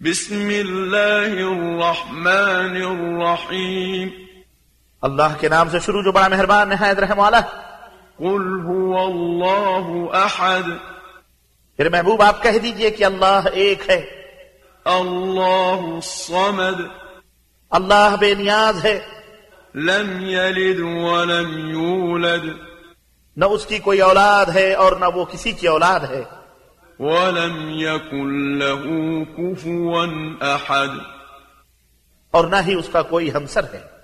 بسم الله الرحمن الرحيم अल्लाह के नाम से शुरू जो बड़ा मेहरबान नहायत रहम वाला قل هو الله أحد फिर महबूब आप कह दीजिए कि अल्लाह एक है الله الصمد अल्लाह बेनियाज है لم يلد ولم يولد न उसकी कोई औलाद है और न वो किसी की औलाद है ولم يكن له كفوا أحد और न ही उसका कोई हमसर है